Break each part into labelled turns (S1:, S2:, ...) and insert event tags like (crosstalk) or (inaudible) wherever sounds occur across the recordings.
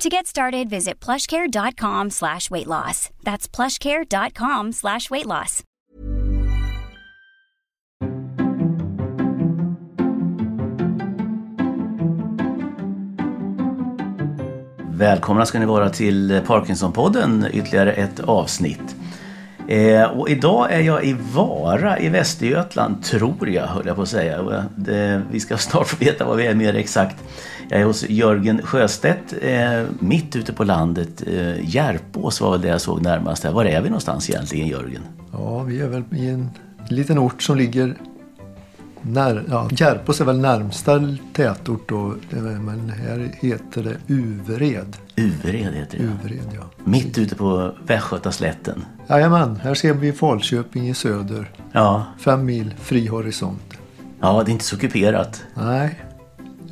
S1: To get started, visit plushcare.com slash weight loss. That's plushcare.com slash weight loss.
S2: Välkomna ska ni vara till Parkinsonpodden, ytterligare ett avsnitt. Eh, och idag är jag i Vara i Västergötland, tror jag, höll jag på att säga. Det, vi ska (laughs) snart få veta vad vi är mer exakt. Jag är hos Jörgen Sjöstedt, eh, mitt ute på landet. Eh, Järpås var väl det jag såg närmast. Här. Var är vi någonstans egentligen, Jörgen?
S3: Ja, vi är väl i en liten ort som ligger när, ja, Järpås är väl närmsta tätort då, men här heter det Uvered.
S2: Uvered heter det.
S3: Uvered, ja.
S2: Mitt ute på Västgötaslätten.
S3: Jajamän, här ser vi Falköping i söder.
S2: Ja.
S3: Fem mil fri horisont.
S2: ja, det är inte så kuperat.
S3: Nej,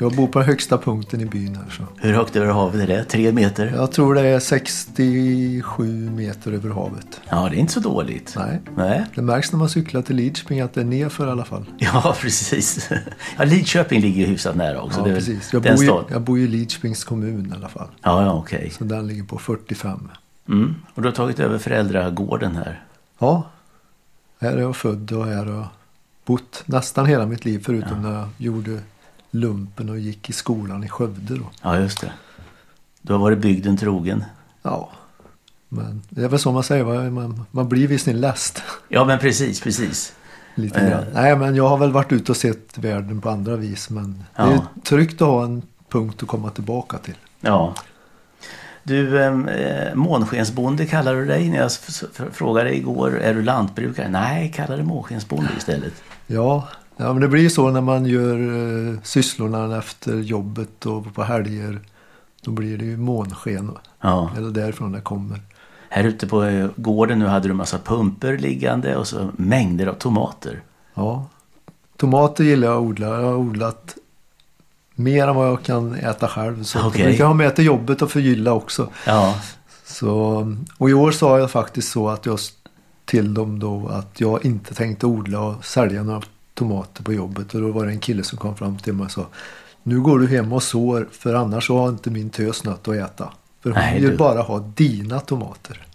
S3: jag bor på högsta punkten i byn här. Så.
S2: Hur högt över havet är det? Tre meter?
S3: Jag tror det är 67 meter över havet.
S2: Ja, det är inte så dåligt.
S3: Nej.
S2: Nej. (laughs)
S3: Det märks när man cyklar till Lidköping att det är nerför i alla fall.
S2: Ja, precis. (laughs) Ja, Lidköping ligger ju hyfsat nära också.
S3: Ja,
S2: det är väl
S3: precis. Jag
S2: den
S3: bor, i,
S2: stad-
S3: jag bor ju i Lidköpings kommun i alla fall.
S2: Ja, ja, okej.
S3: Så den ligger på 45.
S2: Mm. Och du har tagit över föräldragården här.
S3: Ja, här är jag född och här har jag bott nästan hela mitt liv förutom när jag gjorde lumpen och gick i skolan i Skövde då.
S2: Ja, just det. Du har varit bygden trogen.
S3: Ja, men det är väl som man säger, va? man, man blir vid sin läst. (laughs)
S2: Ja, men precis, precis.
S3: Lite
S2: Eh.
S3: grann. Nej, men jag har väl varit ute och sett världen på andra vis. Men det är
S2: Ja.
S3: ju tryggt att ha en punkt att komma tillbaka till.
S2: Ja. Du, ehm, eh, månskensbonde kallar du dig. När jag s- f- frågade dig igår, är du lantbrukare? Nej, kallar dig månskensbonde istället.
S3: Ja, ja men det blir ju så när man gör eh, sysslorna efter jobbet och på helger. Då blir det ju månsken.
S2: Ja.
S3: Eller därifrån det kommer.
S2: Här ute på eh, gården nu hade du massa pumper liggande och så mängder av tomater.
S3: Ja. Tomater gillar jag att odla. Jag har odlat mer än vad jag kan äta själv. Så
S2: Okej.
S3: jag brukar ha med till jobbet och förgylla också.
S2: Ja,
S3: Så, och i år sa jag faktiskt så att jag s- till dem då att jag inte tänkte odla och sälja några tomater på jobbet. Och då var det en kille som kom fram till mig och sa Nu går du hem och sår för annars så har inte min tös något att äta. För hon
S2: Nej,
S3: vill
S2: du.
S3: bara ha dina tomater.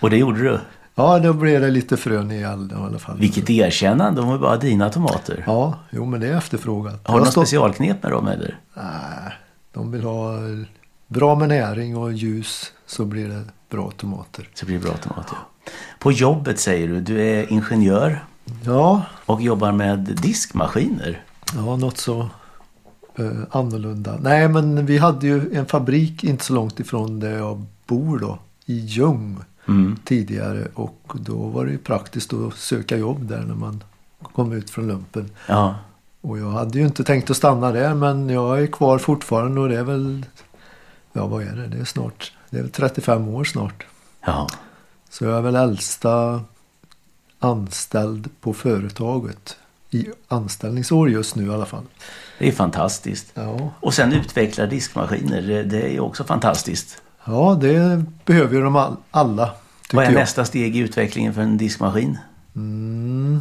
S2: och det gjorde du.
S3: Ja, då blev det lite frön i elden i alla fall.
S2: Vilket erkännande, de var bara dina tomater.
S3: Ja, jo men det är efterfrågat.
S2: Har du
S3: Jag
S2: något
S3: står-
S2: specialknep med dem eller?
S3: Nej, de vill ha bra med näring och ljus så blir det bra tomater.
S2: Så blir det bra tomater. På jobbet säger du, du är ingenjör
S3: Ja,
S2: och jobbar med diskmaskiner.
S3: ja något så eh, annorlunda. Nej, men vi hade ju en fabrik inte så långt ifrån där jag bor då, i Ljung
S2: Mm.
S3: tidigare. Och då var det ju praktiskt att söka jobb där när man kom ut från lumpen.
S2: Ja,
S3: Och jag hade ju inte tänkt att stanna där men jag är kvar fortfarande och det är väl, ja vad är det, det är snart, det är väl 35 år snart.
S2: ja.
S3: Så jag är väl äldsta anställd på företaget. I anställningsår just nu i alla fall.
S2: det är fantastiskt.
S3: Ja,
S2: Och sen utveckla diskmaskiner, det- det är ju också fantastiskt.
S3: ja det behöver ju de all, alla.
S2: Vad är
S3: jag.
S2: nästa steg i utvecklingen för en diskmaskin?
S3: Mm.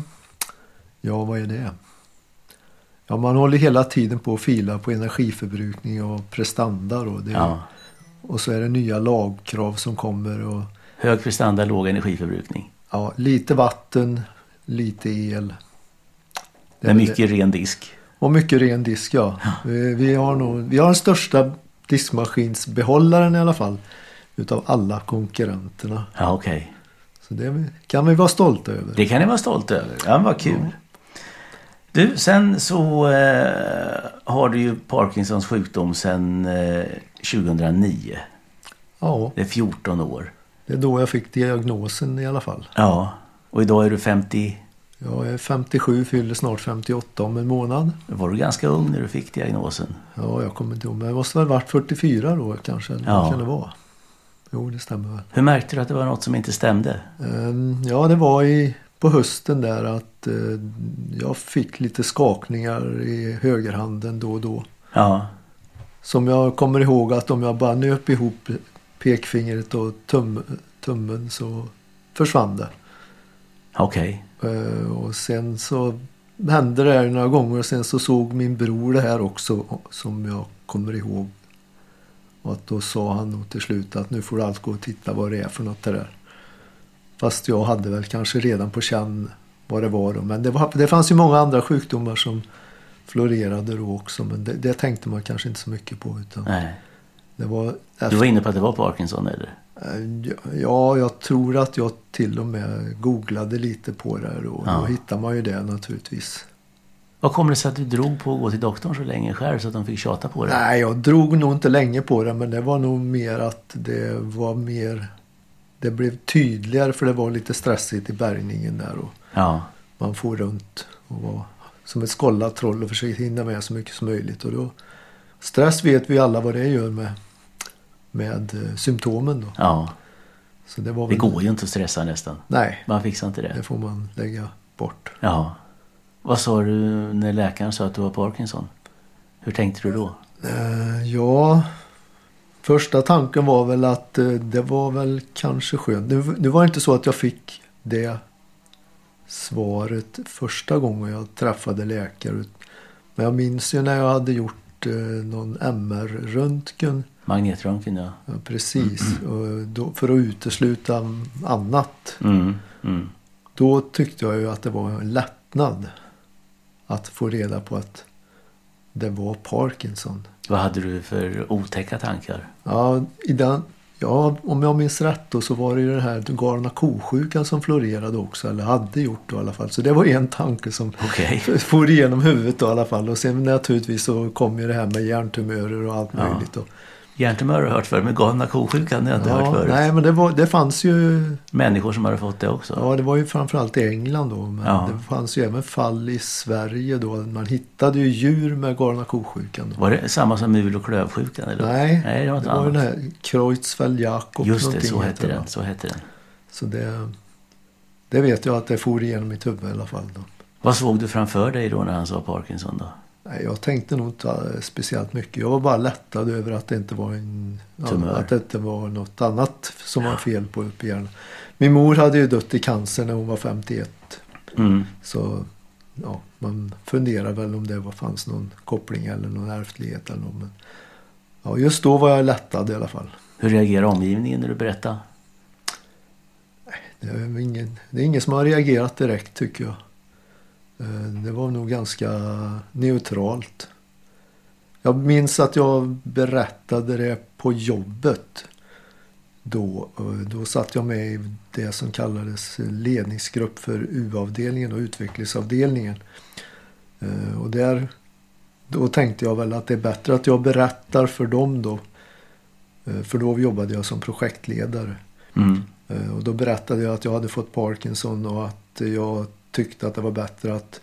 S3: Ja, vad är det? Ja, man håller hela tiden på att fila på energiförbrukning och prestanda. Då. Det,
S2: Ja.
S3: Och så är det nya lagkrav som kommer. Och,
S2: Hög prestanda, låg energiförbrukning.
S3: ja, lite vatten, lite el. Det är
S2: Med
S3: väl det.
S2: mycket ren disk.
S3: Och mycket ren disk ja. Vi, vi, har nog, vi har den största diskmaskinsbehållaren i alla fall. Utav alla konkurrenterna.
S2: Ja, okej.
S3: Så det kan vi vara stolta över.
S2: Det kan ni vara stolta över. Ja, men vad kul. Du, sen så eh, har du ju Parkinsons sjukdom sedan eh, 2009.
S3: Ja,
S2: Det är 14 år.
S3: det är då jag fick diagnosen i alla fall.
S2: Ja, och idag är du 50.
S3: Jag är 57, fyller snart 58 om en månad.
S2: Var du ganska ung när du fick diagnosen?
S3: Ja, jag kommer inte ihåg. Men jag måste väl varit 44 då kanske. Eller
S2: Ja.
S3: vad kan det vara? Jo, det stämmer väl.
S2: Hur märkte du att det var något som inte stämde?
S3: Ehm, Ja, det var i på hösten där att eh, jag fick lite skakningar i högerhanden då och då.
S2: Ja.
S3: Som jag kommer ihåg att om jag bara nöp ihop pekfingret och tum, tummen så försvann det.
S2: Okej.
S3: Eh, Och sen så hände det här några gånger och sen så såg min bror det här också som jag kommer ihåg. Och att då sa han nog till slut att nu får du allt gå och titta vad det är för något det där. Fast jag hade väl kanske redan på känn vad det var då. Men det, var, det fanns ju många andra sjukdomar som florerade då också. Men det, det tänkte man kanske inte så mycket på. Utan
S2: Nej.
S3: det var
S2: Du var inne på att det var Parkinson eller?
S3: Eh, Ja, jag tror att jag till och med googlade lite på det här och
S2: Ja.
S3: då hittar man ju det naturligtvis.
S2: Vad kommer det sig att du drog på att gå till doktorn så länge själv så att de fick tjata på dig?
S3: Nej, jag drog nog inte länge på det men det var nog mer att det var mer... Det blev tydligare för det var lite stressigt i bärgningen där och
S2: Ja.
S3: man får runt och var som ett skollat troll och försökte hinna med så mycket som möjligt. Och då, stress vet vi alla vad det gör med, med eh, symptomen då.
S2: Ja.
S3: Så det, var
S2: Det
S3: väl,
S2: går ju inte att stressa nästan.
S3: Nej,
S2: Man fixar inte
S3: det
S2: det.
S3: får man lägga bort.
S2: Ja. Vad sa du när läkaren sa att du var Parkinson? Hur tänkte du då?
S3: Eh, Ja, första tanken var väl att eh, det var väl kanske skönt. Nu, nu var det inte så att jag fick det svaret första gången jag träffade läkare. Men jag minns ju när jag hade gjort eh, någon MR-röntgen.
S2: Magnetröntgen ja.
S3: Ja, precis, och då, för att utesluta annat.
S2: Mm. Mm.
S3: Då tyckte jag ju att det var en lättnad att få reda på att det var Parkinson.
S2: Vad hade du för otäcka tankar?
S3: Ja, i den, ja, om jag minns rätt då så var det ju den här galna kosjukan som florerade också, eller hade gjort då i alla fall. Så det var en tanke som
S2: Okej.
S3: (laughs) for igenom huvudet då i alla fall. Och sen naturligtvis så kom ju det här med hjärntumörer och allt
S2: Ja.
S3: möjligt. Då.
S2: Hjärntumör har jag hört förut, men galna kosjukan har jag inte hört förut.
S3: nej, men det, var, det fanns ju,
S2: Människor som hade fått det också.
S3: ja det var ju framförallt i England då, men
S2: Ja.
S3: det fanns ju även fall i Sverige då. Man hittade ju djur med galna kosjukan. Då.
S2: Var det samma som mul och klövsjukan? Eller?
S3: Nej,
S2: Nej, det var
S3: det
S2: inte
S3: var ju den
S2: annat.
S3: här Creutzfeldt-Jakob
S2: Just det,
S3: någonting
S2: så
S3: heter
S2: hette
S3: det, va?
S2: den. Så hette den.
S3: Så det, det vet jag att det for igenom mitt huvud i alla fall. Då.
S2: Vad såg du framför dig då när han sa Parkinson då?
S3: Nej, jag tänkte nog inte eh, speciellt mycket. Jag var bara lättad över att det inte var, en, ja,
S2: Tumör.
S3: att det inte var något annat som var fel på uppe i hjärnan. Min mor hade ju dött i cancer när hon var 51.
S2: Mm.
S3: Så ja, man funderar väl om det var, fanns någon koppling eller någon ärftlighet. Eller något, men, ja, just då var jag lättad i alla fall.
S2: Hur reagerade omgivningen när du berättade?
S3: Det är, väl ingen, det är ingen som har reagerat direkt tycker jag. Eh, Det var nog ganska neutralt. Jag minns att jag berättade det på jobbet. Då, Eh, då satt jag med i det som kallades ledningsgrupp för U-avdelningen och utvecklingsavdelningen. Eh, Och där då tänkte jag väl att det är bättre att jag berättar för dem då. Eh, För då jobbade jag som projektledare.
S2: Mm.
S3: Eh, Och då berättade jag att jag hade fått Parkinson och att jag tyckte att det var bättre att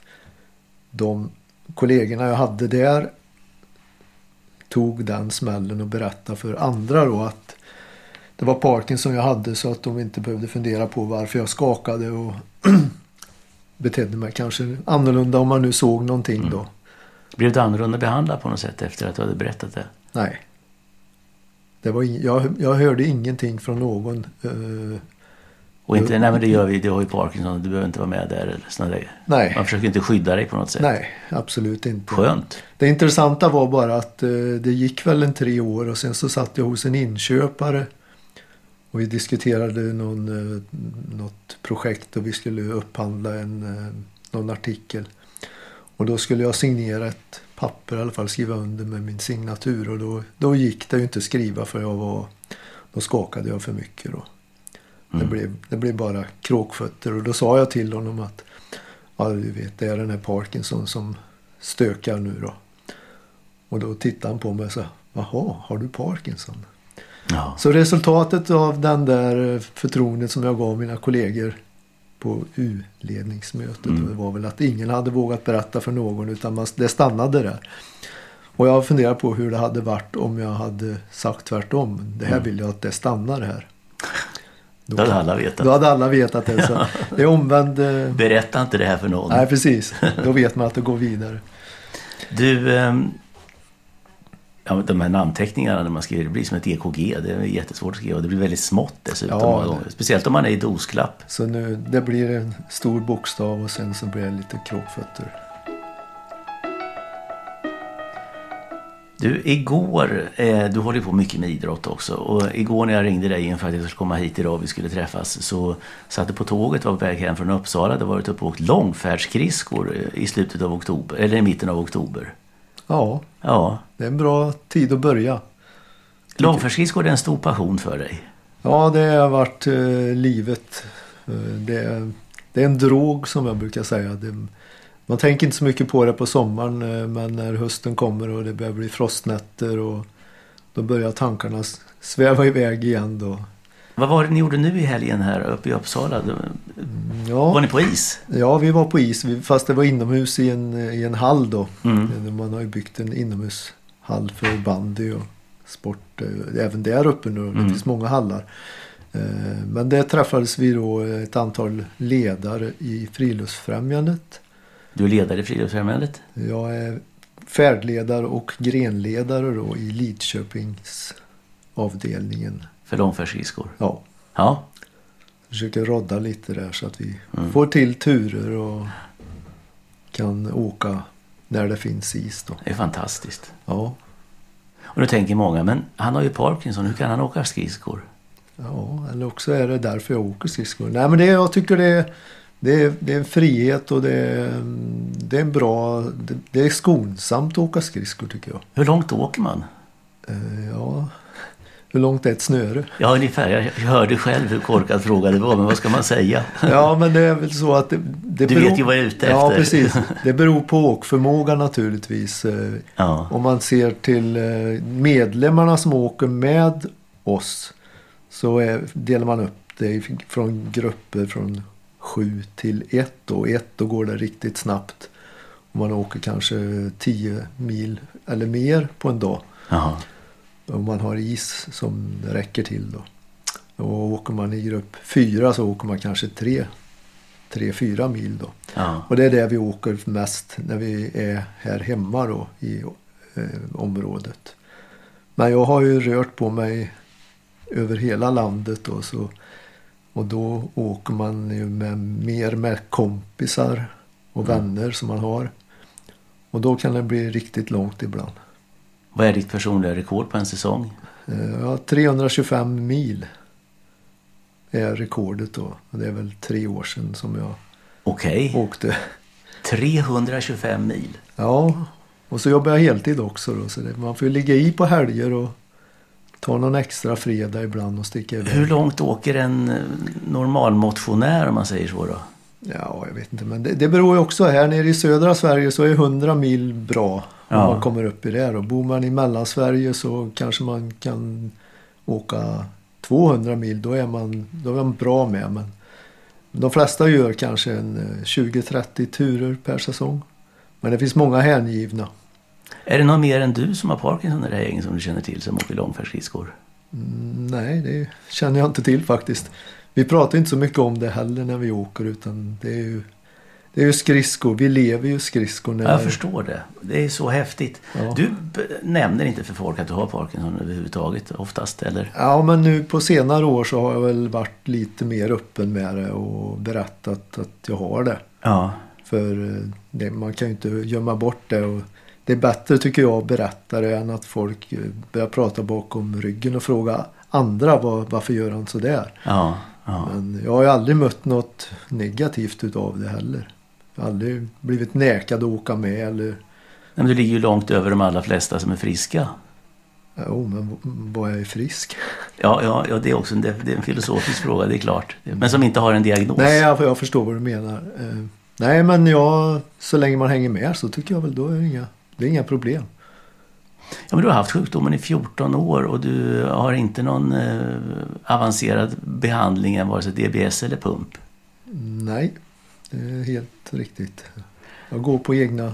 S3: de kollegorna jag hade där tog den smällen och berättade för andra då att det var Parkinson jag hade så att de inte behövde fundera på varför jag skakade och (clears throat) betedde mig kanske annorlunda om man nu såg någonting då.
S2: Blev du annorlunda behandlad på något sätt efter att du hade berättat det?
S3: Nej. Det var ing- jag, jag hörde ingenting från någon. eh,
S2: Och inte,
S3: Jo.
S2: nej men det gör vi, du har ju Parkinson, du behöver inte vara med där eller sådana grejer.
S3: nej,
S2: Man försöker inte skydda dig på något sätt.
S3: nej, absolut inte.
S2: Skönt.
S3: Det intressanta var bara att eh, det gick väl en tre år och sen så satt jag hos en inköpare och vi diskuterade någon, eh, något projekt och vi skulle upphandla en, eh, någon artikel. Och då skulle jag signera ett papper i alla fall, skriva under med min signatur och då, då gick det ju inte att skriva för jag var, då skakade jag för mycket då. Det, blev, det blev bara kråkfötter och då sa jag till honom att ja, du vet, det är den här Parkinson som stökar nu då. Och då tittade han på mig och sa Jaha, har du Parkinson?
S2: Ja.
S3: Så resultatet av den där eh, förtroendet som jag gav mina kollegor på U-ledningsmötet det var väl att ingen hade vågat berätta för någon utan man, det stannade där. Och jag funderar på hur det hade varit om jag hade sagt tvärtom. Mm. Det här vill jag att det stannar här.
S2: Då hade alla vetat.
S3: Då hade alla vetat det. (laughs) Så det är omvänd... eh,
S2: Berätta inte det här för någon.
S3: Nej, precis. Då vet man att det går vidare.
S2: Du, ehm, ja, men de här namnteckningarna när man skriver, det blir som ett EKG. Det är jättesvårt att skriva. Det blir väldigt smått dessutom.
S3: Ja,
S2: många
S3: det-
S2: gånger. Speciellt om man är i dosklapp.
S3: Så nu, det blir en stor bokstav och sen så blir det lite kråkfötter.
S2: Du, igår, eh, du håller ju på mycket med idrott också. Och igår när jag ringde dig inför att jag skulle komma hit idag, vi skulle träffas, så satt du på tåget, var på väg hem från Uppsala. Du har varit uppe och åkt långfärdsskridskor eh, i slutet av oktober, eller i mitten av oktober.
S3: Ja,
S2: Ja,
S3: det är en bra tid att börja.
S2: långfärdsskridskor är en stor passion för dig.
S3: Ja, det har varit eh, livet. Eh, det, är- det är en drog som jag brukar säga. Det, man tänker inte så mycket på det på sommaren eh, men när hösten kommer och det börjar bli frostnätter och då börjar tankarna s- sväva iväg igen då.
S2: Vad var det ni gjorde nu i helgen här uppe i Uppsala? Du- Var
S3: Mm, Ja,
S2: ni på is?
S3: ja vi var på is vi- fast det var inomhus i en, i en hall då.
S2: Mm.
S3: Man har ju byggt en inomhushall för bandy och sport eh, även där uppe nu. Det finns många hallar. Eh, Men där träffades vi då ett antal ledare i Friluftsfrämjandet.
S2: Du är ledare i Friluftsfrämjandet.
S3: Jag är färdledare och grenledare då i Lidköpings avdelningen.
S2: För långfärdsskridskor.
S3: Ja,
S2: Ja.
S3: försöker rodda lite där så att vi får till turer och kan åka när det finns is då.
S2: Det är fantastiskt.
S3: Ja,
S2: Och nu tänker många, men han har ju Parkinson, hur kan han åka skridskor?
S3: Ja, eller också är det därför jag åker skridskor. Nej, men det, jag tycker det är, det, är, det är en frihet och det är, mm, det är en bra... Det, det är skonsamt att åka skridskor tycker jag.
S2: Hur långt åker man?
S3: Eh, ja, hur långt är ett snöre?
S2: Ja, ungefär. Jag hörde själv hur korkad fråga det var, men vad ska man säga?
S3: Ja, men det är väl så att det, det
S2: Du vet ju vad jag är ute
S3: Ja,
S2: efter.
S3: precis.
S2: (laughs)
S3: Det beror på åkförmåga naturligtvis. Eh,
S2: Ja.
S3: Om man ser till eh, medlemmarna som åker med oss så är, delar man upp det i- från grupper från sju till ett och ett då går det riktigt snabbt. Om man åker kanske 10 mil eller mer på en dag.
S2: Jaha.
S3: Om man har is som det räcker till då. Och åker man i grupp fyra så åker man kanske tre, tre fyra mil då.
S2: Ja.
S3: Och det är det vi åker mest när vi är här hemma då i eh, området. Men jag har ju rört på mig över hela landet då, så, och då åker man ju med, mer med kompisar och vänner som man har. Och då kan det bli riktigt långt ibland.
S2: Vad är ditt personliga rekord på en säsong?
S3: Eh, Ja, 325 mil är rekordet då. Och Det är väl tre år sedan som jag
S2: Okej,
S3: åkte.
S2: 325 mil.
S3: Ja, och så jobbar jag heltid också då. Så det, man får ju ligga i på helger och ta någon extra fredag ibland och sticka
S2: Hur
S3: iväg.
S2: långt åker en eh, normalmotionär om man säger så då?
S3: Ja, jag vet inte. Men det, det beror ju också. Här nere i södra Sverige så är 100 mil bra. Om
S2: Ja.
S3: man kommer upp i det. Och bor man i Mellansverige så kanske man kan åka 200 mil. Då är man, då är man bra med. Men de flesta gör kanske en eh, 20-30 turer per säsong. Men det finns många hängivna.
S2: Är det någon mer än du som har Parkinson i det här gänget som du känner till som åker långfärdsskridskor?
S3: Nej, det känner jag inte till faktiskt. Vi pratar inte så mycket om det heller när vi åker utan det är ju, det är ju skridskor. Vi lever ju skridskor. När...
S2: Ja, jag förstår det. Det är så häftigt.
S3: Ja.
S2: Du b- nämner inte för folk att du har Parkinson överhuvudtaget oftast, eller?
S3: Ja, men nu på senare år så har jag väl varit lite mer öppen med det och berättat att jag har det.
S2: Ja.
S3: För eh, det, man kan ju inte gömma bort det. Och det är bättre tycker jag att berätta det än att folk eh, börjar prata bakom ryggen och fråga andra "Var- varför gör han sådär?
S2: Ja. ja.
S3: Men jag har ju aldrig mött något negativt utav det heller. Jag har aldrig blivit nekad att åka med eller...
S2: Nej, Men du ligger ju långt över de allra flesta som är friska.
S3: Jo, men v- vad jag är frisk.
S2: Ja, ja, ja det är också en, det det är en filosofisk fråga, det är klart. Men som inte har en diagnos.
S3: Nej, jag, jag förstår vad du menar. Eh, nej, men jag... Så länge man hänger med så tycker jag väl då är det inga, det är inga problem.
S2: Ja, men du har haft sjukdomen i 14 år och du har inte någon eh, avancerad behandling än vare sig DBS eller pump.
S3: Nej, det är helt riktigt. Jag går på egna...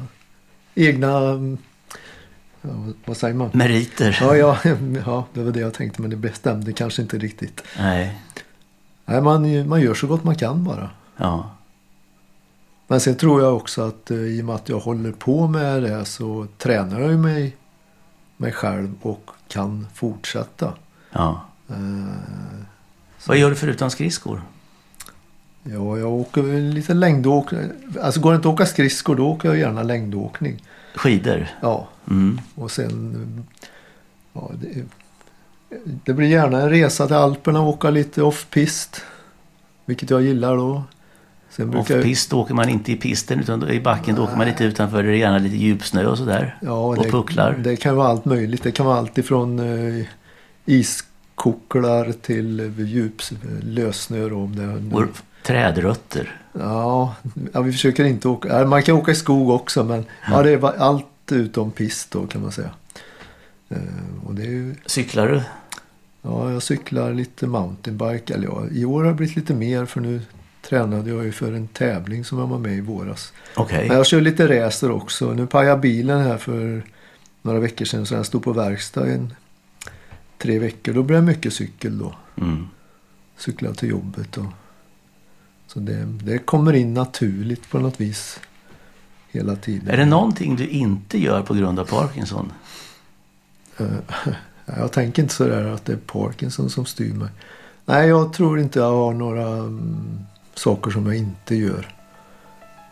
S3: Egna... mm, Ja, vad säger man?
S2: Meriter?
S3: (laughs) Ja, ja, ja, det var det jag tänkte men det bestämde kanske inte riktigt.
S2: Nej.
S3: Nej, man, man gör så gott man kan bara.
S2: Ja.
S3: Men sen tror jag också att eh, i och med att jag håller på med det så tränar jag ju mig, mig själv och kan fortsätta.
S2: ja.
S3: Eh,
S2: Vad gör du förutom skridskor?
S3: ja, jag åker väl lite längdåkning. Alltså går det inte att åka skridskor då åker jag gärna längdåkning.
S2: Skidor?
S3: Ja,
S2: Mm.
S3: och sen... eh, Ja, det, det blir gärna en resa till Alperna och åka lite off-pist. Vilket jag gillar då. Sen brukar jag-
S2: Off-pist då åker man inte i pisten utan då- i backen. Då åker man lite utanför. Det är gärna lite djupsnö och sådär.
S3: Ja,
S2: och pucklar.
S3: Det kan vara allt möjligt. Det kan vara allt ifrån eh, iskoklar till eh, djup lössnö. då, Om det,
S2: Och trädrötter.
S3: ja, ja, vi försöker inte åka. ja, Man kan åka i skog också men ja, det är bara allt utom pist då kan man säga. Eh, och det är ju,
S2: Cyklar du?
S3: ja, jag cyklar lite mountainbike. Eller ja, i år har det blivit lite mer för nu tränade jag ju för en tävling som jag var med i våras.
S2: Okej.
S3: Men jag kör lite racer också. Nu pajade bilen här för några veckor sedan så den stod på verkstad i en, tre veckor. Då blev det mycket cykel då.
S2: Mm.
S3: Cykla till jobbet och så det, det kommer in naturligt på något vis hela tiden.
S2: Är det någonting du inte gör på grund av Parkinson?
S3: Nej, Eh, (laughs) Jag tänker inte sådär att det är Parkinson som styr mig. Nej, jag tror inte jag har några mm, saker som jag inte gör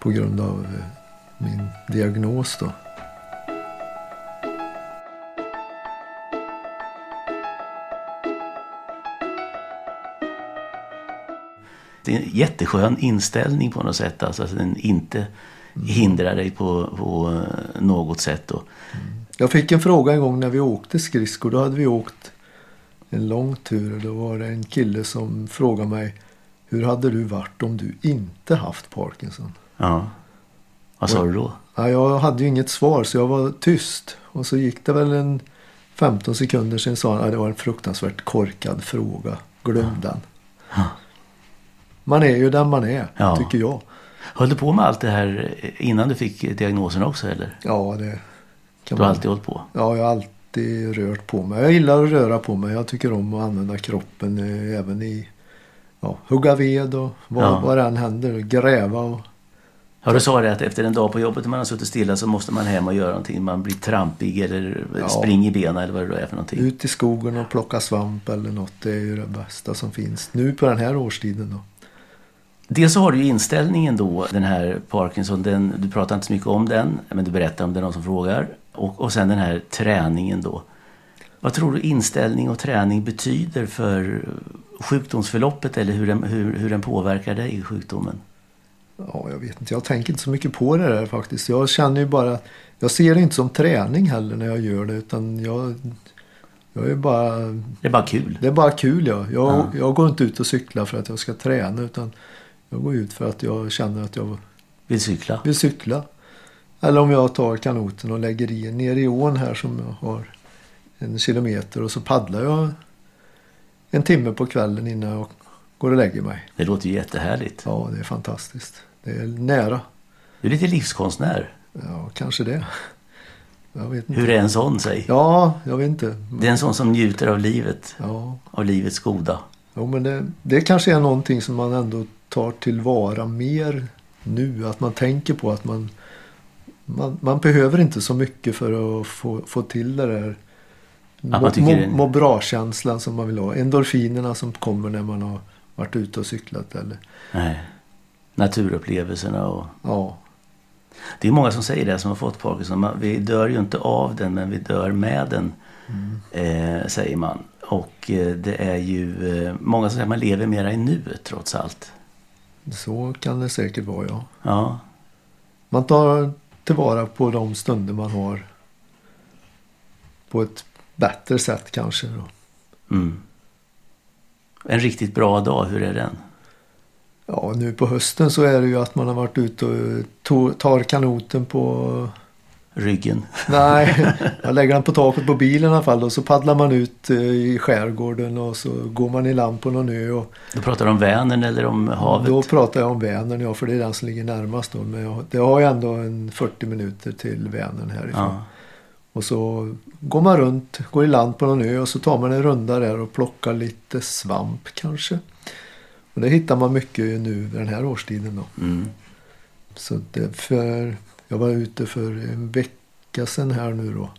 S3: på grund av eh, min diagnos då.
S2: Det är en jätteskön inställning på något sätt. Alltså att den inte hindrar dig på, på eh, något sätt. Då.
S3: Jag fick en fråga en gång när vi åkte skridskor. Då hade vi åkt en lång tur och då var det en kille som frågade mig Hur hade du varit om du inte haft Parkinson?
S2: Ja. Vad sa du då?
S3: Ja, jag hade ju inget svar så jag var tyst. Och så gick det väl en 15 sekunder sen sa han att det var en fruktansvärt korkad fråga. Glöm den. Man är ju den man är,
S2: Ja.
S3: tycker jag.
S2: Höll du på med allt det här eh, innan du fick diagnosen också eller?
S3: Ja, det kan
S2: Du har
S3: man...
S2: alltid hållit på?
S3: Ja, jag har alltid rört på mig. Jag gillar att röra på mig. Jag tycker om att använda kroppen eh, även i ja, hugga ved och vad,
S2: Ja.
S3: vad det än händer. Gräva och...
S2: Ja, du sa det att efter en dag på jobbet när man har suttit stilla så måste man hem och göra någonting. Man blir trampig eller
S3: Ja.
S2: springer i benen eller vad det då är för någonting.
S3: Ut i skogen och plocka svamp eller något. Det är ju det bästa som finns. Nu på den här årstiden då.
S2: Dels så har du ju inställningen då, den här Parkinson, den, du pratar inte så mycket om den, men du berättar om den, någon som frågar. Och, och sen den här träningen då. Vad tror du inställning och träning betyder för sjukdomsförloppet eller hur den, hur, hur den påverkar dig i sjukdomen?
S3: Ja, jag vet inte. Jag tänker inte så mycket på det där faktiskt. Jag känner ju bara... Jag ser det inte som träning heller när jag gör det utan jag... Jag är bara
S2: Det är bara kul.
S3: Det är bara kul ja. Jag, jag går inte ut och cyklar för att jag ska träna utan jag går ut för att jag känner att jag
S2: Vill cykla.
S3: vill cykla. Eller om jag tar kanoten och lägger i ner i ån här som jag har en kilometer och så paddlar jag en timme på kvällen innan jag går och lägger mig.
S2: Det låter ju jättehärligt.
S3: Ja, det är fantastiskt. Det är nära.
S2: Du är lite livskonstnär.
S3: Ja, kanske det. Jag vet inte.
S2: Hur är en sån, säg?
S3: Ja, jag vet inte.
S2: Det är en sån som njuter av livet,
S3: Ja,
S2: av livets goda.
S3: Jo, men det, det kanske är någonting som man ändå tar tillvara mer nu. Att man tänker på att man, man, man behöver inte så mycket för att få, få till det där
S2: man
S3: må,
S2: tycker det
S3: må,
S2: är-
S3: må bra-känslan som man vill ha. Endorfinerna som kommer när man har varit ute och cyklat. Eller,
S2: Nej. Naturupplevelserna och
S3: ja,
S2: Det är många som säger det som har fått Parkinson. Man, vi dör ju inte av den men vi dör med den.
S3: Mm.
S2: Eh, säger man. Och eh, det är ju eh, många som säger att man lever mera i nuet trots allt.
S3: så kan det säkert vara ja.
S2: Ja,
S3: Man tar tillvara på de stunder man har på ett bättre sätt kanske. Då.
S2: mm. En riktigt bra dag, hur är den?
S3: Ja, nu på hösten så är det ju att man har varit ute och to- tar kanoten
S2: (laughs)
S3: på...
S2: Ryggen.
S3: Nej, jag lägger den på taket på bilen i alla fall och så paddlar man ut eh, i skärgården och så går man i land på någon ö och
S2: Då pratar du om Vänern eller om havet.
S3: då pratar jag om Vänern ja, för det är den som ligger närmast då. Men jag, det har ju ändå en 40 minuter till Vänern härifrån.
S2: ja.
S3: Och så går man runt, går i land på någon ö och så tar man en runda där och plockar lite svamp kanske. Men det hittar man mycket nu vid den här årstiden. Då.
S2: Mm.
S3: Så det för, jag var ute för en vecka sedan här nu då.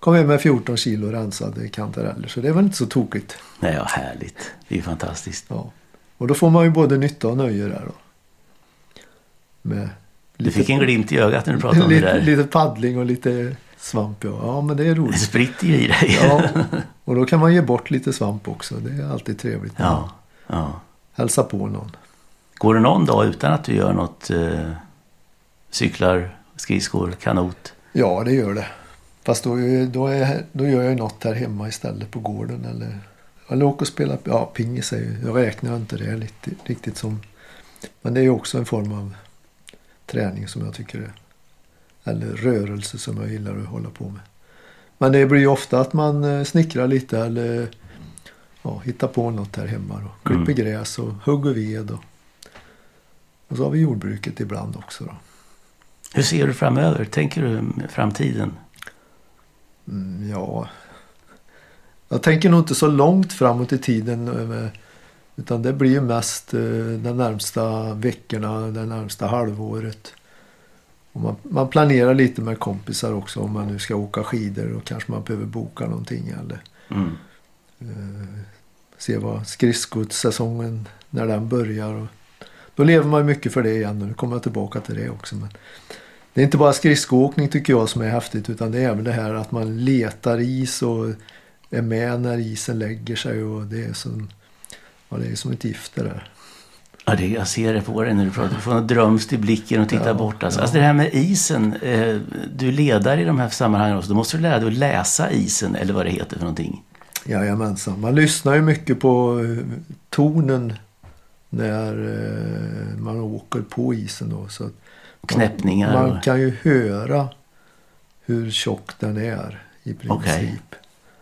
S3: Kom hem med 14 kilo rensade kantareller. Så det var inte så tokigt.
S2: Nej, ja, härligt. Det är ju fantastiskt.
S3: Ja. Och då får man ju både nytta och nöje där då. Med
S2: Du fick en glimt i ögat när du pratade om det
S3: lite,
S2: där.
S3: lite paddling och lite svamp. Ja, ja men det är
S2: Det (laughs)
S3: roligt.
S2: spritter ju i dig.
S3: Ja. Och då kan man ge bort lite svamp också. Det är alltid trevligt. när man
S2: ja. ja.
S3: Hälsa på någon.
S2: Går det någon dag utan att du gör något? Eh, cyklar, skridskor, kanot?
S3: Ja, det gör det. Fast då, är- då, är, då gör jag ju något här hemma istället på gården. Eller, eller åker och spelar ja, pingis. Är ju, jag räknar inte det lite, riktigt som... Men det är ju också en form av träning som jag tycker är... Eller rörelse som jag gillar att hålla på med. Men det blir ju ofta att man eh, snickrar lite eller ja, hittar på något här hemma. Då. Klipper gräs och hugger ved. Och, och så har vi jordbruket ibland också. Då.
S2: Hur ser du framöver? Tänker du om framtiden?
S3: Mm, ja. Jag tänker nog inte så långt framåt i tiden. eh, Utan det blir ju mest eh, de närmsta veckorna, det närmsta halvåret. Och man, man planerar lite med kompisar också om man nu ska åka skidor och kanske man behöver boka någonting eller
S2: Mm.
S3: Eh, se vad skridskosäsongen, när den börjar. Och då lever man ju mycket för det igen och nu kommer jag tillbaka till det också. Men det är inte bara skridskoåkning tycker jag som är häftigt utan det är även det här att man letar is och är med när isen lägger sig och det är som, ja, det är som ett gift det där.
S2: Ja, det, jag ser det på dig när du pratar. Du får något drömst i blicken och tittar
S3: Ja,
S2: bort. Alltså.
S3: ja.
S2: alltså det här med isen. Eh, du är ledare i de här sammanhangen också. Då måste du lära dig att läsa isen eller vad det heter för någonting.
S3: Jajamensan, man lyssnar ju mycket på eh, tonen när eh, man åker på isen då. Så att
S2: Knäppningar
S3: Man, man
S2: och-
S3: kan ju höra hur tjock den är i princip.
S2: Okej.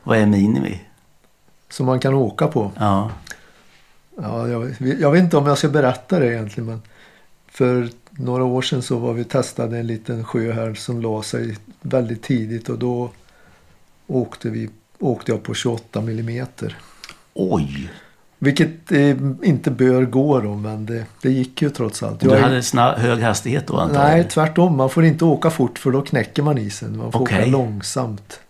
S2: Vad är minimi?
S3: Som man kan åka på.
S2: Ja,
S3: Ja, jag, jag vet inte om jag ska berätta det egentligen men för några år sedan så var vi och testade en liten sjö här som la sig väldigt tidigt och då åkte, vi, åkte jag på 28 millimeter.
S2: oj.
S3: Vilket eh, inte bör gå då men det, det gick ju trots allt.
S2: Du
S3: Jag är-
S2: hade snabb, hög hastighet då antar jag?
S3: Nej, tvärtom. Man får inte åka fort för då knäcker man isen. Man får åka
S2: Okej.
S3: långsamt.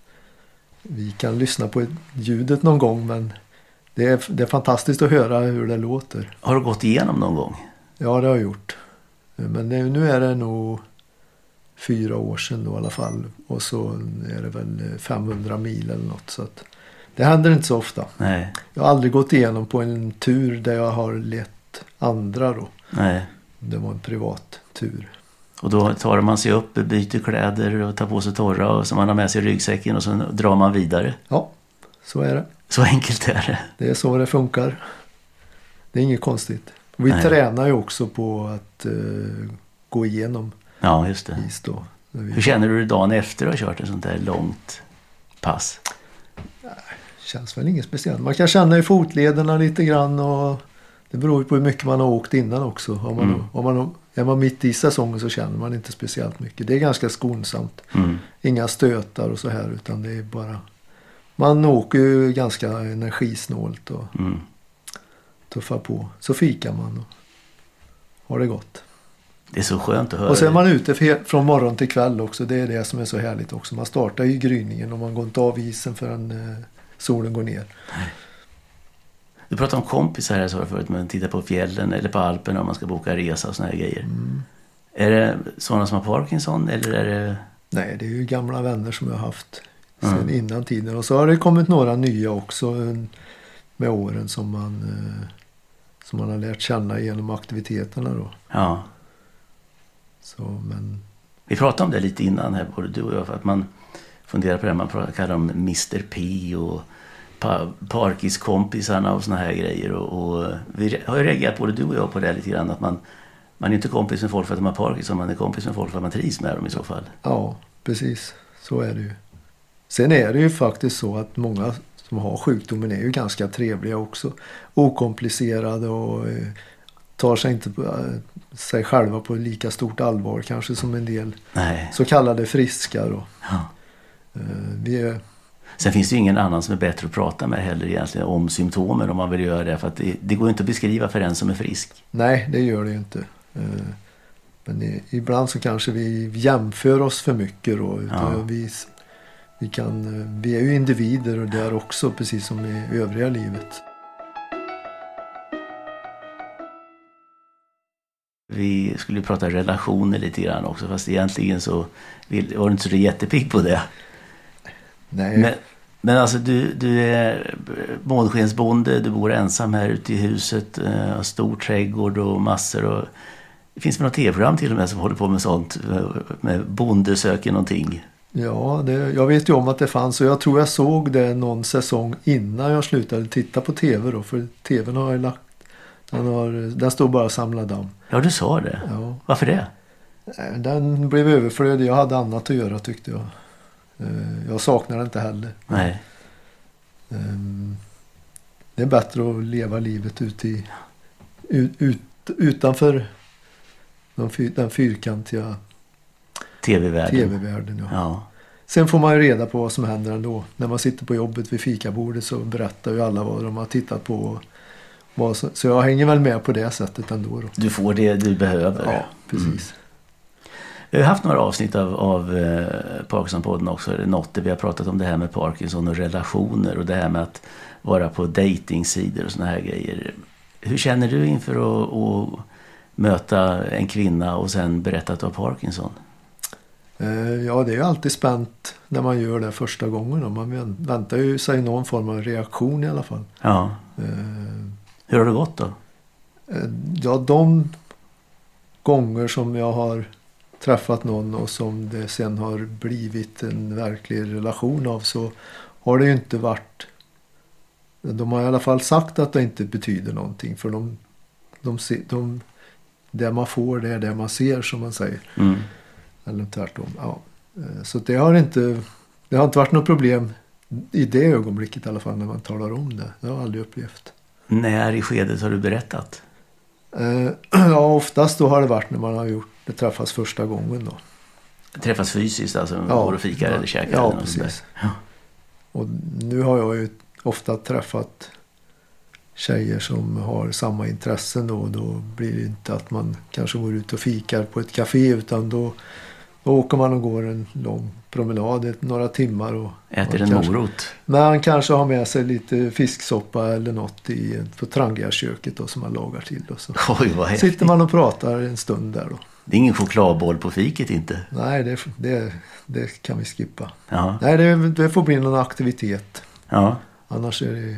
S3: Vi kan lyssna på ljudet någon gång men det är, det är fantastiskt att höra hur det låter.
S2: Har du gått igenom någon gång?
S3: Ja, det har jag gjort. Men det, nu är det nog fyra år sedan då, i alla fall. Och så är det väl 500 mil eller något. Så att det händer inte så ofta.
S2: Nej.
S3: Jag har aldrig gått igenom på en tur där jag har lett andra då.
S2: Nej.
S3: Det var en privat tur.
S2: Och då tar man sig upp, byter kläder och tar på sig torra och så man har med sig ryggsäcken och så drar man vidare.
S3: Ja, så är det.
S2: Så enkelt är det.
S3: Det är så det funkar. Det är inget konstigt. Och Vi
S2: Nej.
S3: tränar ju också på att eh, gå igenom
S2: Ja, just det.
S3: is då. När
S2: Hur
S3: vi
S2: känner du dig dagen efter att ha kört ett sånt där långt pass?
S3: känns väl inget speciellt. Man kan känna i fotlederna lite grann och det beror ju på hur mycket man har åkt innan också. Om man, om man, är man mitt i säsongen så känner man inte speciellt mycket. Det är ganska skonsamt.
S2: Mm.
S3: Inga stötar och så här utan det är bara man åker ju ganska energisnålt och
S2: Mm.
S3: tuffar på. Så fikar man och har det gott.
S2: Det är så skönt att höra.
S3: Och sen är
S2: det.
S3: man ute fe- från morgon till kväll också. Det är det som är så härligt också. Man startar ju i gryningen och man går inte av isen förrän eh, solen går ner.
S2: Du pratade om kompisar här sa du förut, men titta på fjällen eller på Alperna om man ska boka resa och såna här grejer. Är det sådana som har Parkinson eller är det...
S3: Nej, det är ju gamla vänner som jag har haft sedan innan tiden. Och så har det kommit några nya också eh, med åren som man, eh, som man har lärt känna genom aktiviteterna då.
S2: Ja.
S3: Så, men
S2: Vi pratade om det lite innan här, både du och jag, för att man funderar på det här, man pratar- kallar dem Mr P och pa- Parkiskompisarna och såna här grejer. Och, och vi re- har ju reagerat både du och jag på det här lite grann, att man, man är inte kompis med folk för att de har Parkinson, man är kompis med folk för att man trivs med dem i så fall.
S3: Ja, precis. Så är det ju. Sen är det ju faktiskt så att många som har sjukdomen är ju ganska trevliga också. Okomplicerade och eh, tar sig inte på, eh, sig själva på lika stort allvar kanske som en del
S2: Nej.
S3: så kallade friska då.
S2: Ja.
S3: Eh, Vi är,
S2: Sen finns det ju ingen annan som är bättre att prata med heller egentligen om symptomen om man vill göra det. För att det, det går ju inte att beskriva för en som är frisk.
S3: Nej, det gör det ju inte. Eh, Men i- ibland så kanske vi jämför oss för mycket då. Utan
S2: Ja.
S3: Vi, vi, kan, eh, vi är ju individer och där också precis som i övriga livet.
S2: Vi skulle ju prata relationer lite grann också fast egentligen så vill, var du inte så jättepigg på det.
S3: Nej,
S2: Men, men alltså du, du är månskensbonde, du bor ensam här ute i huset, eh, har stor trädgård och massor. Och, det finns väl något tv-program till och med som håller på med sånt, eh, med bonde söker någonting.
S3: ja, det, jag vet ju om att det fanns och jag tror jag såg det någon säsong innan jag slutade titta på tv då. För tvn har jag lagt, den, har, den står bara och samlar damm.
S2: Ja, du sa det.
S3: Ja.
S2: Varför det?
S3: Nej, Den blev överflödig. Jag hade annat att göra tyckte jag. Eh, Jag saknar det inte heller.
S2: Nej.
S3: Ehm, Det är bättre att leva livet ute i, ut, ut, utanför den, fyr, den fyrkantiga
S2: Tv-världen.
S3: tv-världen. Ja.
S2: Ja.
S3: Sen får man ju reda på vad som händer ändå. När man sitter på jobbet vid fikabordet så berättar ju alla vad de har tittat på. Och vad som, så jag hänger väl med på det sättet ändå. Då.
S2: Du får det du behöver.
S3: Ja, precis.
S2: Vi har haft några avsnitt av, av eh, Parkinsonpodden också. eller Något där vi har pratat om det här med Parkinson och relationer och det här med att vara på dejtingsidor och sådana här grejer. Hur känner du inför att, att möta en kvinna och sen berätta att du har Parkinson?
S3: Eh, Ja, det är ju alltid spänt när man gör det första gången. då. Man vän- väntar ju sig någon form av reaktion i alla fall.
S2: Ja.
S3: Eh,
S2: Hur har det gått då?
S3: Eh, Ja, de gånger som jag har träffat någon och som det sen har blivit en verklig relation av så har det ju inte varit... De har i alla fall sagt att det inte betyder någonting för de... de, se- de det man får det är det man ser som man säger.
S2: Mm.
S3: Eller tvärtom. Ja. Eh, Så det har inte... Det har inte varit något problem i det ögonblicket i alla fall när man talar om det. Det har jag aldrig upplevt.
S2: När i skedet har du berättat?
S3: Eh, (clears throat) Ja, oftast då har det varit när man har gjort det träffas första gången då.
S2: Träffas fysiskt alltså?
S3: Ja.
S2: går och fikar eller käkar?
S3: Ja,
S2: eller något sånt där.
S3: precis. Och nu har jag ju ofta träffat tjejer som har samma intressen då. Och då blir det inte att man kanske går ut och fikar på ett café utan då, då åker man och går en lång promenad i några timmar. Och
S2: Äter
S3: man
S2: en
S3: kanske,
S2: morot? (laughs)
S3: Men han kanske har med sig lite fisksoppa eller något i, på Trangiaköket då som man lagar till. Och så
S2: Oj, vad häftigt.
S3: sitter man och pratar en stund där då.
S2: Det är ingen chokladboll på fiket inte.
S3: Nej, det, det, det kan vi skippa.
S2: Ja.
S3: Nej, det, det får bli någon aktivitet.
S2: ja.
S3: Annars är det,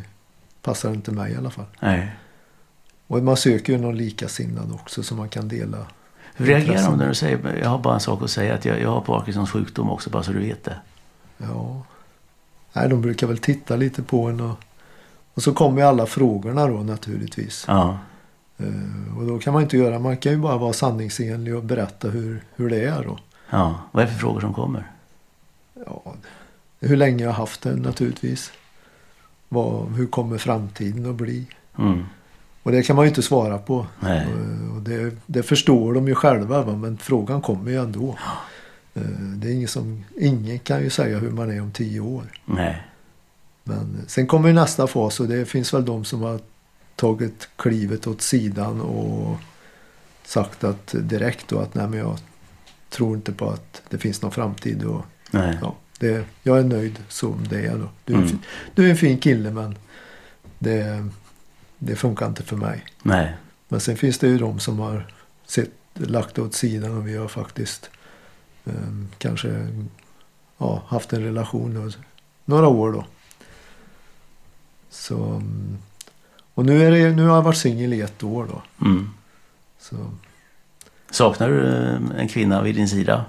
S3: passar det inte mig i alla fall.
S2: Nej.
S3: Och man söker ju någon likasinnad också som man kan dela.
S2: Hur reagerar de
S3: intressen.
S2: när du säger jag har bara en sak att säga att jag, jag har Parkinsons sjukdom också bara så du vet det?
S3: Ja. Nej, de brukar väl titta lite på en och, och så kommer ju alla frågorna då naturligtvis.
S2: Ja.
S3: Eh, och då kan man inte göra, man kan ju bara vara sanningsenlig och berätta hur, hur det är då.
S2: ja. Vad är det för frågor som kommer?
S3: Ja, hur länge jag har haft det naturligtvis. Vad, hur kommer framtiden att bli?
S2: Mm.
S3: Och det kan man ju inte svara på.
S2: Nej.
S3: Eh, Och det, det förstår de ju själva va? men frågan kommer ju ändå. Eh, Det är ingen, som, ingen kan ju säga hur man är om tio år.
S2: Nej.
S3: Men eh, sen kommer ju nästa fas och det finns väl de som har tagit klivet åt sidan och sagt att direkt då att nej men jag tror inte på att det finns någon framtid. Och,
S2: Nej.
S3: ja, det, jag är nöjd som det är då. Du är, en
S2: Mm.
S3: fin- du är en fin kille men det, det funkar inte för mig.
S2: Nej.
S3: Men sen finns det ju de som har sett, lagt det åt sidan och vi har faktiskt ehm, kanske ja, haft en relation då, några år då. Så, mm, och nu, är det, nu har jag varit singel i ett år då.
S2: Mm.
S3: Så,
S2: Saknar du eh, en kvinna vid din sida?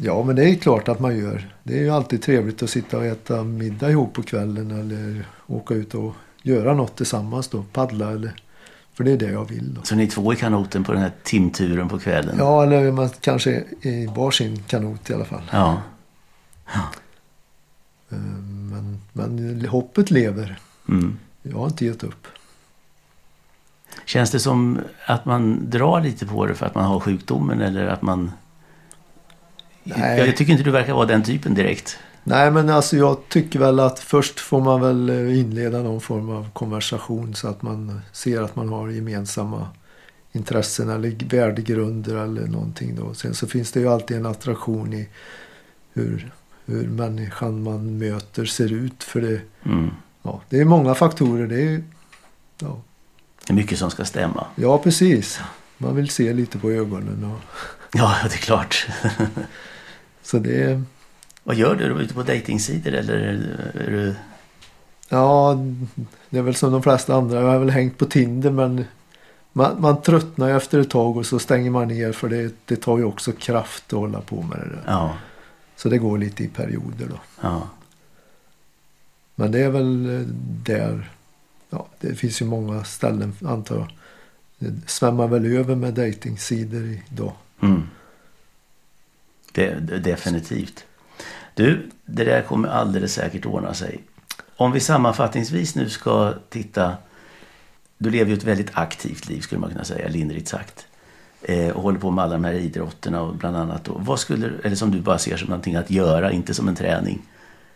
S3: ja men det är klart att man gör. Det är ju alltid trevligt att sitta och äta middag ihop på kvällen eller åka ut och göra något tillsammans då. Paddla eller, för det är det jag vill då.
S2: Så ni två i kanoten på den här timturen på kvällen?
S3: Ja eller man kanske i varsin kanot i alla fall.
S2: Ja.
S3: Eh, Men, men hoppet lever.
S2: Mm.
S3: Jag har inte gett upp.
S2: Känns det som att man drar lite på det för att man har sjukdomen eller att man...
S3: Nej.
S2: Jag, jag tycker inte du verkar vara den typen direkt.
S3: Nej men alltså jag tycker väl att först får man väl eh, inleda någon form av konversation så att man ser att man har gemensamma intressen eller värdegrunder eller någonting då. Sen så finns det ju alltid en attraktion i hur, hur människan man möter ser ut för det,
S2: Mm.
S3: ja, det är många faktorer. Det är, ja,
S2: Det är mycket som ska stämma.
S3: ja precis, man vill se lite på ögonen och
S2: Ja, (laughs) det är klart.
S3: så det är
S2: Vad gör du? Är du ute på dejtingsidor eller är du...
S3: Ja, det är väl som de flesta andra. Jag har väl hängt på Tinder men man, man tröttnar ju efter ett tag och så stänger man ner för det, det tar ju också kraft att hålla på med det där.
S2: Ja,
S3: Så det går lite i perioder då.
S2: ja.
S3: Men det är väl eh, där, ja det finns ju många ställen antar jag. Det svämmar väl över med dejtingsidor idag.
S2: Mm. Det, det, definitivt. Du, det där kommer alldeles säkert ordna sig. Om vi sammanfattningsvis nu ska titta. Du lever ju ett väldigt aktivt liv skulle man kunna säga, lindrigt sagt. Eh, och håller på med alla de här idrotterna och bland annat då. Vad skulle, eller som du bara ser som någonting att göra, inte som en träning.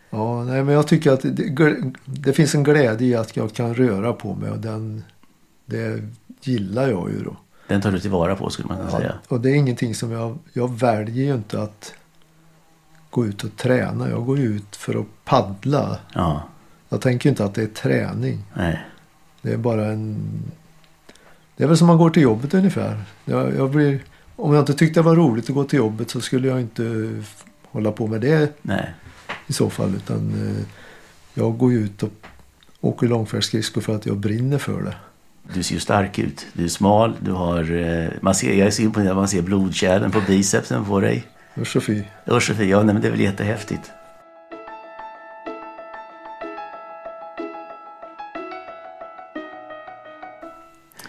S3: Ja, nej, men jag tycker att det, gl- det finns en glädje i att jag kan röra på mig och den, det gillar jag ju då.
S2: Den tar du tillvara på skulle man kunna
S3: Ja,
S2: säga.
S3: och det är ingenting som jag, jag väljer ju inte att gå ut och träna. Jag går ju ut för att paddla.
S2: Ja,
S3: Jag tänker ju inte att det är träning.
S2: nej.
S3: Det är bara en... Det är väl som man går till jobbet ungefär. Jag, jag blir, om jag inte tyckte det var roligt att gå till jobbet så skulle jag inte f- hålla på med det
S2: nej.
S3: i så fall. Utan eh, jag går ju ut och åker långfärdsskridskor för att jag brinner för det.
S2: Du ser ju stark ut. Du är smal, du har... eh, Man ser, jag är så imponerad, man ser blodkärlen på bicepsen på dig.
S3: Usch och fy.
S2: Usch Sofia, ja, nej, men det är väl jättehäftigt.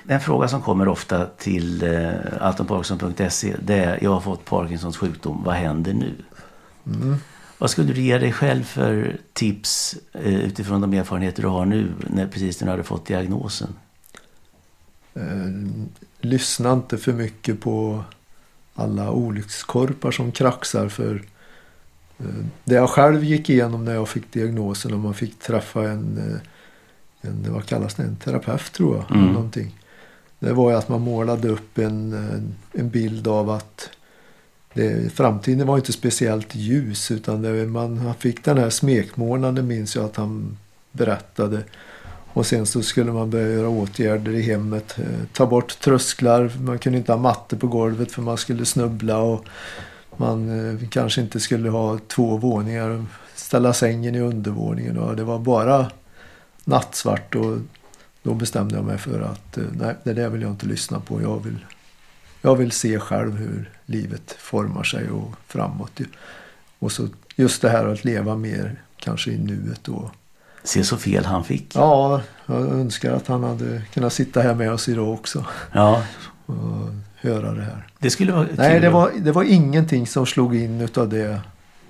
S2: Den fråga som kommer ofta till eh, altonparkinson.se det är jag har fått Parkinsons sjukdom, vad händer nu?
S3: Mm.
S2: Vad skulle du ge dig själv för tips eh, utifrån de erfarenheter du har nu när, precis när du hade fått diagnosen?
S3: Eh, lyssna inte för mycket på alla olyckskorpar som kraxar för eh, det jag själv gick igenom när jag fick diagnosen och man fick träffa en, eh, en vad kallas det, en terapeut tror jag.
S2: Mm.
S3: Eller någonting. Det var ju att man målade upp en, en, en bild av att det, framtiden var inte speciellt ljus utan det, man han fick den här smekmånaden minns jag att han berättade. Och sen så skulle man börja göra åtgärder i hemmet. eh, Ta bort trösklar, man kunde inte ha matte på golvet för man skulle snubbla och man eh, kanske inte skulle ha två våningar. och Ställa sängen i undervåningen och det var bara nattsvart och då bestämde jag mig för att eh, nej, det där vill jag inte lyssna på. Jag vill, jag vill se själv hur livet formar sig och framåt. ju. Och så just det här att leva mer kanske i nuet och
S2: Se så fel han fick.
S3: Ja, jag önskar att han hade kunnat sitta här med oss idag också
S2: Ja,
S3: och höra det här.
S2: det skulle vara kul
S3: Nej, det
S2: att-
S3: var, det var ingenting som slog in utav det,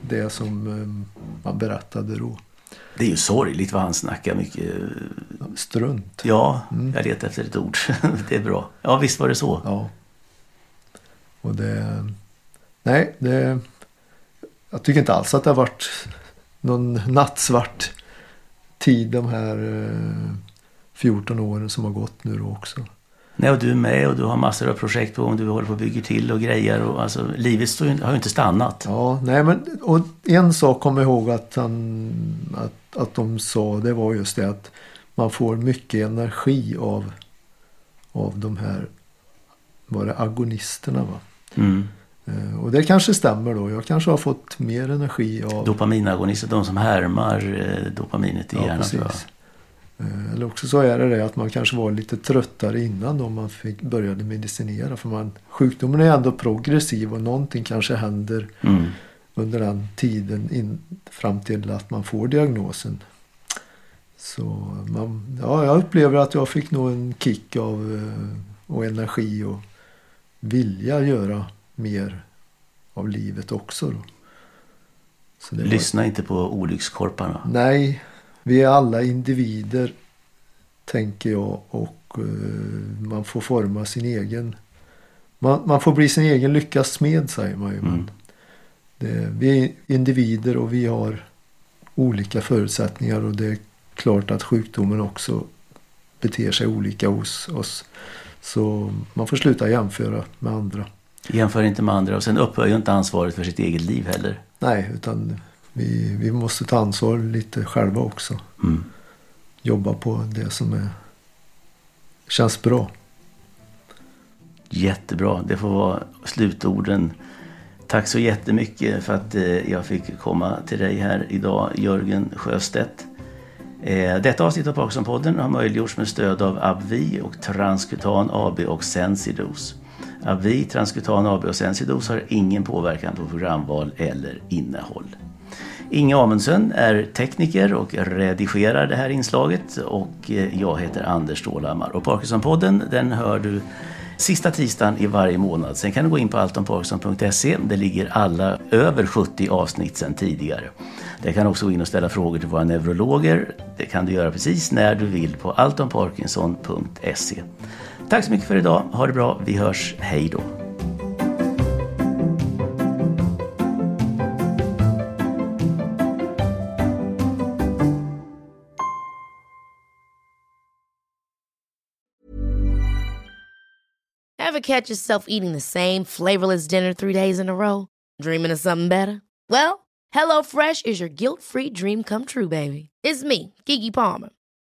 S3: det som eh, man berättade då.
S2: det är ju sorgligt vad han snackar mycket. eh,
S3: Strunt.
S2: Ja,
S3: Mm.
S2: jag letar efter ett ord. (laughs) det är bra. Ja, visst var det så.
S3: Ja. Och det... Nej, det... Jag tycker inte alls att det har varit någon nattsvart tid de här eh, 14 åren som har gått nu då också.
S2: Nej, och du är med och du har massor av projekt på gång. Du håller på och bygger till och grejer. Och, alltså, livet står ju, har ju inte stannat.
S3: Ja, nej men och en sak kommer jag ihåg att, han, att, att de sa det var just det att man får mycket energi av, av de här var det agonisterna va?
S2: Mm.
S3: Eh, Och det kanske stämmer då. Jag kanske har fått mer energi av...
S2: Dopaminagonister, de som härmar eh, dopaminet i hjärnan. tror jag.
S3: Eh, Eller också så är det det att man kanske var lite tröttare innan då man fick, började medicinera. För man, sjukdomen är ändå progressiv och någonting kanske händer
S2: Mm.
S3: under den tiden in, fram till att man får diagnosen. Så man, ja, jag upplever att jag fick nog en kick av eh, och energi och vilja göra mer av livet också. Då. Så det var-
S2: Lyssna inte på olyckskorparna.
S3: Nej, vi är alla individer tänker jag och eh, man får forma sin egen man, man får bli sin egen lyckas smed säger man ju. men
S2: Mm.
S3: Det, vi är individer och vi har olika förutsättningar och det är klart att sjukdomen också beter sig olika hos oss. Så man får sluta jämföra med andra.
S2: Jämför inte med andra och sen upphör ju inte ansvaret för sitt eget liv heller.
S3: Nej, utan vi, vi måste ta ansvar lite själva också.
S2: Mm.
S3: Jobba på det som är, känns bra.
S2: Jättebra, det får vara slutorden. Tack så jättemycket för att eh, jag fick komma till dig här idag, Jörgen Sjöstedt. Eh, Detta avsnitt av Parkinsonpodden har möjliggjorts med stöd av Abvi och Transkutan AB och Sensidos. Abvi, Transkutan AB och Sensidos har ingen påverkan på programval eller innehåll. Inge Amundsen är tekniker och redigerar det här inslaget och eh, jag heter Anders Stålhammar. Och Parkinsonpodden den hör du sista tisdagen i varje månad. Sen kan du gå in på alltomparkinson.se. Där ligger alla över 70 avsnitt sedan tidigare. Där kan du också gå in och ställa frågor till våra neurologer. Det kan du göra precis när du vill på alltomparkinson.se. Tack så mycket för idag. Ha det bra. Vi hörs. Hej då.
S4: Ever catch yourself eating the same flavorless dinner three days in a row? Dreaming of something better? Well, HelloFresh is your guilt free dream come true, baby. It's me, Gigi Palmer.